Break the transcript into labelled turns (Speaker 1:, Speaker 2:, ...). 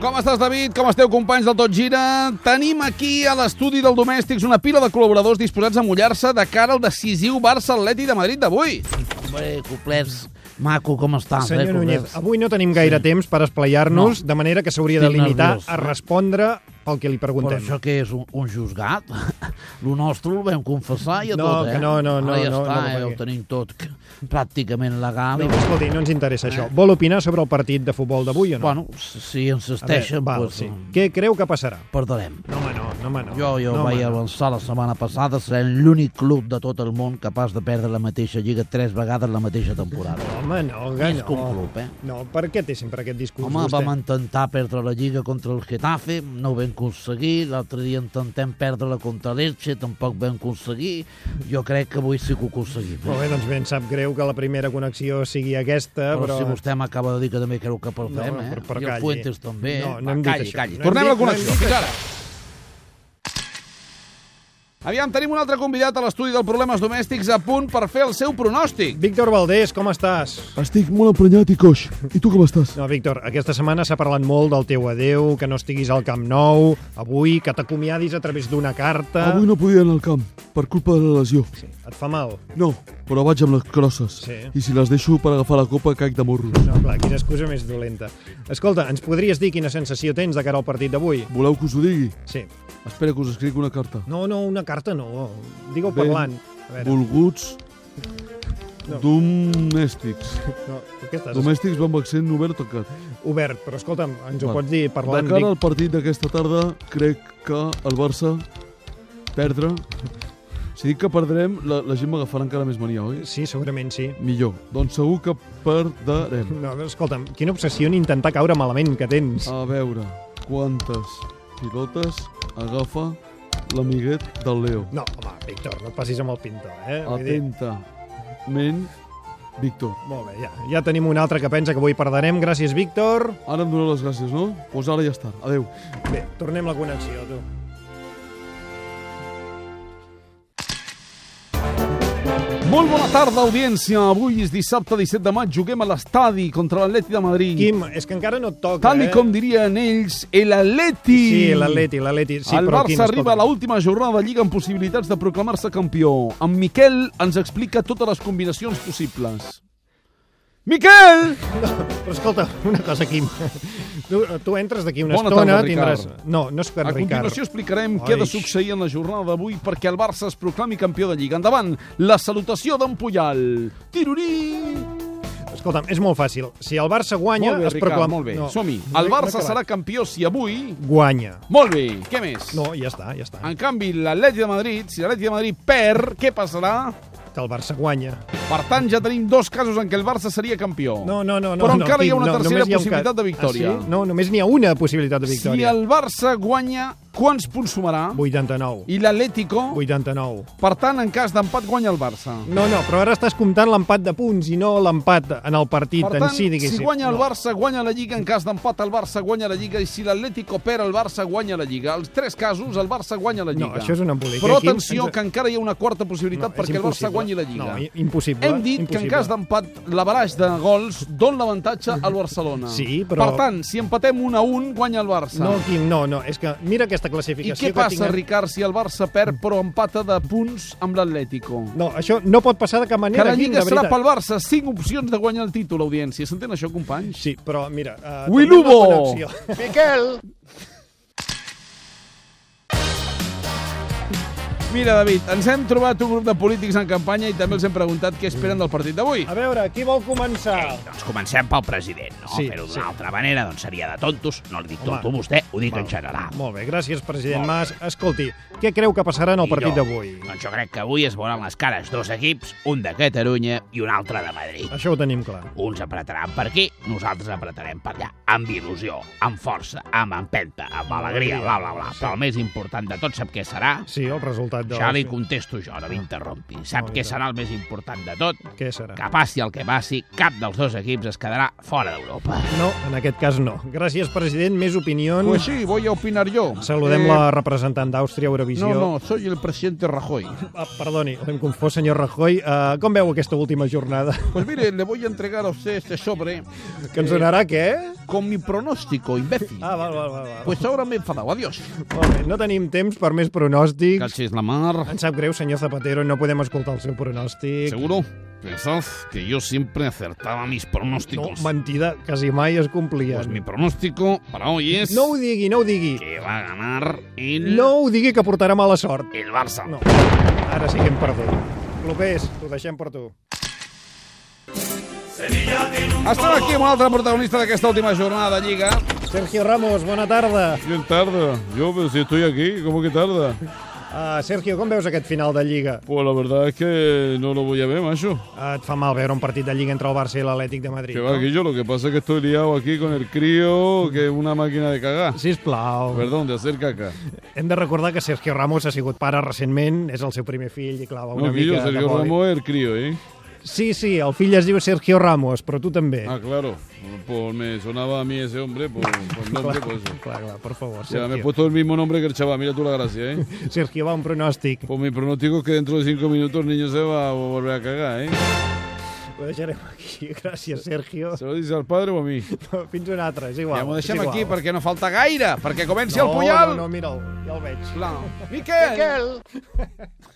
Speaker 1: Com estàs, David? Com esteu, companys del Tot Gira? Tenim aquí a l'estudi del Domèstics una pila de col·laboradors disposats a mullar-se de cara al decisiu Barça-Atleti de Madrid d'avui.
Speaker 2: Bé, complets. Maco, com estàs?
Speaker 3: Senyor
Speaker 2: eh,
Speaker 3: Núñez,
Speaker 2: complets?
Speaker 3: avui no tenim gaire temps per esplayar-nos, de manera que s'hauria de
Speaker 2: Estic
Speaker 3: limitar
Speaker 2: nerviós.
Speaker 3: a respondre pel que li
Speaker 2: Però
Speaker 3: preguntem.
Speaker 2: això que és un, un juzgat? Lo nostre ho vam confessar i a
Speaker 3: No,
Speaker 2: tot, eh?
Speaker 3: que no, no, no,
Speaker 2: Ara ja
Speaker 3: no,
Speaker 2: està,
Speaker 3: no,
Speaker 2: eh?
Speaker 3: perquè-
Speaker 2: ho tenim tot pràcticament legal.
Speaker 3: No,
Speaker 2: i...
Speaker 3: escolti, no ens interessa això. Vol opinar sobre el partit de futbol d'avui o
Speaker 2: Eh.
Speaker 3: no?
Speaker 2: Bueno, si doncs,
Speaker 3: A veure,
Speaker 2: insisteixen,
Speaker 3: val,
Speaker 2: pues,
Speaker 3: sí. Què creu que passarà?
Speaker 2: perdrem.
Speaker 3: No, home, no, no, home, no.
Speaker 2: Jo ja ho
Speaker 3: no,
Speaker 2: vaig
Speaker 3: home, no.
Speaker 2: avançar la setmana passada, serem l'únic club de tot el món capaç de perdre la mateixa lliga tres vegades la mateixa temporada.
Speaker 3: Home, no, que
Speaker 2: Més que un
Speaker 3: no.
Speaker 2: club, eh?
Speaker 3: No, per què té sempre aquest discurs
Speaker 2: Home,
Speaker 3: vostè?
Speaker 2: vam intentar perdre la Lliga contra el Getafe, no ho vam aconseguir. L'altre dia intentem perdre-la contra l'Elche, tampoc ho vam aconseguir. Jo crec que avui sí que ho aconseguim. eh?
Speaker 3: Molt bé, doncs bé, em sap greu que la primera connexió sigui aquesta,
Speaker 2: Però,
Speaker 3: però...
Speaker 2: si vostè m'acaba de dir que també creu que perdrem,
Speaker 3: No,
Speaker 2: eh?
Speaker 3: però- però
Speaker 2: I el
Speaker 3: calli.
Speaker 2: Fuentes també.
Speaker 3: No,
Speaker 2: Va,
Speaker 3: no hem dit
Speaker 2: calli,
Speaker 3: això.
Speaker 2: calli.
Speaker 3: No hem
Speaker 1: Tornem a
Speaker 3: dit- no
Speaker 1: la
Speaker 3: hem
Speaker 1: connexió.
Speaker 3: dit
Speaker 1: Fins
Speaker 3: això.
Speaker 1: ara. Aviam, tenim un altre convidat a l'estudi del Problemes Domèstics a punt per fer el seu pronòstic.
Speaker 3: Víctor Valdés, com estàs?
Speaker 4: Estic molt emprenyat i coix. I tu com estàs?
Speaker 3: No, Víctor, aquesta setmana s'ha parlat molt del teu adeu, que no estiguis al Camp Nou, avui, que t'acomiadis a través d'una carta...
Speaker 4: Avui no podia anar al camp, per culpa de la lesió.
Speaker 3: Sí, et fa mal.
Speaker 4: No, però vaig amb les crosses.
Speaker 3: Sí.
Speaker 4: I si les deixo per agafar la copa, caic de morro.
Speaker 3: No, clar, quina excusa més dolenta. Escolta, ens podries dir quina sensació tens de cara al partit d'avui?
Speaker 4: Voleu que us ho digui?
Speaker 3: Sí.
Speaker 4: Espera que us escric una carta.
Speaker 3: No, no, una carta no. Digue-ho
Speaker 4: Ben
Speaker 3: parlant. A veure,
Speaker 4: Volguts
Speaker 3: No.
Speaker 4: domèstics.
Speaker 3: no, tu què estàs?
Speaker 4: Domèstics amb accent obert tancat.
Speaker 3: Obert, però escolta'm, ens ho
Speaker 4: Val.
Speaker 3: pots dir
Speaker 4: De
Speaker 3: parlant,
Speaker 4: cara
Speaker 3: Vic...
Speaker 4: al partit d'aquesta tarda, crec que el Barça perdre... Si dic que perdrem, la, la gent m'agafarà encara més mania, oi?
Speaker 3: Sí, segurament sí.
Speaker 4: Millor. Doncs segur que perdrem.
Speaker 3: No, escolta'm, quina obsessió en intentar caure malament que tens.
Speaker 4: A veure, quantes pilotes agafa l'amiguet del Leo?
Speaker 3: No, home, Víctor, no et passis amb el pintor, eh?
Speaker 4: Ah,
Speaker 3: Vull dir-
Speaker 4: Atentament, Víctor.
Speaker 3: Molt bé, ja. Ja tenim un altre que pensa que avui perdarem. Gràcies, Víctor.
Speaker 4: Ara em doneu les gràcies, no? Doncs pues ara ja està. Adeu.
Speaker 3: Bé, tornem la connexió, tu.
Speaker 1: Molt bona tarda, audiència. Avui és dissabte 17 de maig. Juguem a l'estadi contra l'Atleti de Madrid.
Speaker 3: Quim, és que encara no et toca,
Speaker 1: Tal i
Speaker 3: eh?
Speaker 1: com dirien ells, el Atleti.
Speaker 3: Sí, l'Atleti, l'Atleti. Sí,
Speaker 1: el
Speaker 3: però,
Speaker 1: Barça
Speaker 3: Quim,
Speaker 1: arriba a
Speaker 3: escolta,
Speaker 1: l'última jornada de Lliga amb possibilitats de proclamar-se campió. En Miquel ens explica totes les combinacions possibles. Miquel!
Speaker 3: Però escolta, una cosa, Quim. Tu, tu entres d'aquí una
Speaker 1: Bona
Speaker 3: estona,
Speaker 1: tarda, Ricard.
Speaker 3: tindràs... No, no és que
Speaker 1: A
Speaker 3: Ricard.
Speaker 1: continuació explicarem què ha de
Speaker 3: Oix.
Speaker 1: succeir en la jornada d'avui perquè el Barça es proclami campió de Lliga. Endavant, la salutació d'en Puyal. Tirurí!
Speaker 3: Escolta'm, és molt fàcil. Si el Barça guanya,
Speaker 1: Molt bé,
Speaker 3: es
Speaker 1: Ricard,
Speaker 3: proclama...
Speaker 1: molt bé.
Speaker 3: No,
Speaker 1: Som-hi.
Speaker 3: no he-
Speaker 1: El
Speaker 3: no he
Speaker 1: Barça
Speaker 3: acabat.
Speaker 1: serà campió si avui...
Speaker 3: Guanya.
Speaker 1: Molt bé, què més?
Speaker 3: No, ja està, ja està.
Speaker 1: En canvi, l'Atleti de Madrid, si l'Atleti de Madrid perd, què passarà?
Speaker 3: Que el Barça guanya.
Speaker 1: Per tant, ja tenim dos casos en què el Barça seria campió.
Speaker 3: No, no, no. no
Speaker 1: Però
Speaker 3: no,
Speaker 1: encara hi ha
Speaker 3: Quim,
Speaker 1: una
Speaker 3: no,
Speaker 1: tercera
Speaker 3: només hi ha un
Speaker 1: possibilitat
Speaker 3: cas.
Speaker 1: de victòria.
Speaker 3: Ah, sí? No, només n'hi ha una possibilitat de
Speaker 1: Si
Speaker 3: victòria.
Speaker 1: el Barça guanya, quants punts sumarà?
Speaker 3: 89.
Speaker 1: I l'Atlético?
Speaker 3: 89.
Speaker 1: Per tant, en cas d'empat, guanya el Barça.
Speaker 3: No, no, però ara estàs comptant l'empat de punts i no l'empat en el partit
Speaker 1: Per tant,
Speaker 3: en si, diguéssim.
Speaker 1: si guanya el
Speaker 3: no.
Speaker 1: Barça, guanya la Lliga. En cas d'empat, el Barça guanya la Lliga. I si l'Atlético perd, el Barça guanya la Lliga. Els tres casos, el Barça guanya la Lliga.
Speaker 3: No, això és un embolic.
Speaker 1: Però
Speaker 3: Aquí
Speaker 1: atenció,
Speaker 3: ens-
Speaker 1: que encara hi ha una quarta possibilitat
Speaker 3: és
Speaker 1: perquè el Barça
Speaker 3: impossible.
Speaker 1: guanyi la Lliga.
Speaker 3: No, i- impossible.
Speaker 1: Hem dit que en
Speaker 3: impossible.
Speaker 1: cas d'empat, l'abaraix de gols dona l'avantatge al Barcelona.
Speaker 3: Sí, però-
Speaker 1: Per tant, si empatem 1 a 1, guanya el Barça.
Speaker 3: No, Quim, no, no, és que mira aquesta
Speaker 1: I
Speaker 3: classificació
Speaker 1: què
Speaker 3: que
Speaker 1: passa,
Speaker 3: tinc...
Speaker 1: Ricard, si el Barça perd però empata de punts amb l'Atlético?
Speaker 3: No, això no pot passar de cap
Speaker 1: Que
Speaker 3: manera,
Speaker 1: la
Speaker 3: Quim,
Speaker 1: Lliga
Speaker 3: de
Speaker 1: serà
Speaker 3: veritat.
Speaker 1: pel Barça. 5 opcions de guanyar el títol, audiència. S'entén això, companys?
Speaker 3: Sí, però mira... Uh,
Speaker 1: Wilubo!
Speaker 3: Miquel!
Speaker 1: Mira, David, ens hem trobat un grup de polítics en campanya i també els hem preguntat què esperen del partit d'avui.
Speaker 3: A veure, qui vol començar?
Speaker 5: Doncs comencem pel president, no?
Speaker 3: Sí,
Speaker 5: Sí, Fer-ho
Speaker 3: sí.
Speaker 5: d'una sí. altra manera doncs seria de tontos. No li dic
Speaker 3: Home.
Speaker 5: tonto a vostè, ho dic
Speaker 3: Val.
Speaker 5: en general.
Speaker 3: Molt bé, gràcies, president Mas. Escolti, què creu que passarà en el
Speaker 5: I
Speaker 3: partit
Speaker 5: jo,
Speaker 3: d'avui?
Speaker 5: Doncs jo crec que avui es veuran les cares dos equips, un de Catalunya i un altre de Madrid.
Speaker 3: Això ho tenim clar.
Speaker 5: Uns apretaran per aquí, nosaltres apretarem per allà, amb il·lusió, amb força, amb empenta, amb alegria, bla, bla, bla. Però el més important de tot sap què serà?
Speaker 3: Sí, el resultat de...
Speaker 5: Ja li contesto jo, no m'interrompi. Sap
Speaker 3: No, i
Speaker 5: què
Speaker 3: tant.
Speaker 5: serà el més important de tot?
Speaker 3: Què serà?
Speaker 5: Que passi el que passi, cap dels dos equips es quedarà fora d'Europa.
Speaker 3: No, en aquest cas no. Gràcies, president. Més opinions.
Speaker 1: Pues sí, voy a opinar yo.
Speaker 3: Saludem
Speaker 1: Eh,
Speaker 3: la representant d'Àustria, Eurovisió.
Speaker 1: No, no, soy el presidente Rajoy.
Speaker 3: Ah, perdoni, l'hem confós, senyor Rajoy. Uh, com veu aquesta última jornada?
Speaker 1: Pues mire, le voy a entregar a usted este sobre.
Speaker 3: Que ens donarà què?
Speaker 6: con mi pronóstico, imbécil.
Speaker 3: Ah, val, val, val. val.
Speaker 6: Pues ahora me he enfadado, adiós.
Speaker 3: Molt bé, no tenim temps per més pronòstics.
Speaker 6: Cachis la mar.
Speaker 3: Em sap greu, senyor Zapatero, no podem escoltar el seu pronòstic.
Speaker 2: Seguro pensad que yo siempre acertaba mis
Speaker 3: No,
Speaker 2: pronósticos.
Speaker 3: mentida, quasi mai es complia.
Speaker 2: pues mi pronóstico para hoy es
Speaker 3: No ho digui, no ho digui.
Speaker 2: que va a ganar el,
Speaker 3: No ho digui que portarà mala sort.
Speaker 2: el Barça.
Speaker 3: No, ara sí que hem perdut. Clopés, t'ho deixem per tu.
Speaker 6: Estem aquí amb un altre protagonista d'aquesta última jornada de Lliga.
Speaker 3: Sergio Ramos, bona tarda.
Speaker 1: Bien tarda. Yo, pero si estoy aquí, ¿cómo que tarda?
Speaker 3: Uh, Sergio, com veus aquest final de Lliga?
Speaker 1: Pues la verdad es que no lo voy a ver, macho.
Speaker 3: Uh, et fa mal veure un partit de Lliga entre el Barça i l'Atlètic de Madrid.
Speaker 1: Que va, Guillo, lo que pasa es que estoy liado aquí con el crío, que es una máquina de cagar.
Speaker 3: Sisplau.
Speaker 1: Perdón, de hacer caca.
Speaker 3: Hem de recordar que Sergio Ramos ha sigut pare recentment, és el seu primer fill i clava una
Speaker 1: No, Guillo,
Speaker 3: mica de
Speaker 1: Sergio
Speaker 3: boli.
Speaker 1: Ramos es el crío, ¿eh?
Speaker 3: Sí, sí, el fill es diu Sergio Ramos, però tu també.
Speaker 1: Ah, claro. Pues me sonaba a mí ese hombre por, por nombre, por eso.
Speaker 3: Clar, clar, per favor,
Speaker 1: Ya, me he
Speaker 3: Sergio.
Speaker 1: puesto el mismo nombre que el chaval, mira tú la gracia, ¿eh?
Speaker 3: Sergio, va, un pronòstic.
Speaker 1: Pues mi pronóstico es que dentro de cinco minutos el niño se va a volver a cagar, ¿eh?
Speaker 3: Ho deixarem aquí. Gràcies, Sergio.
Speaker 1: ¿Se lo dice al padre o a mí?
Speaker 3: Fins un altre, és igual.
Speaker 6: Ja m'ho deixem
Speaker 3: és igual.
Speaker 6: aquí perquè no falta gaire, perquè comenci
Speaker 3: no,
Speaker 6: el Puyol.
Speaker 3: No, no, mira'l, ja el veig.
Speaker 6: Miquel! Miquel!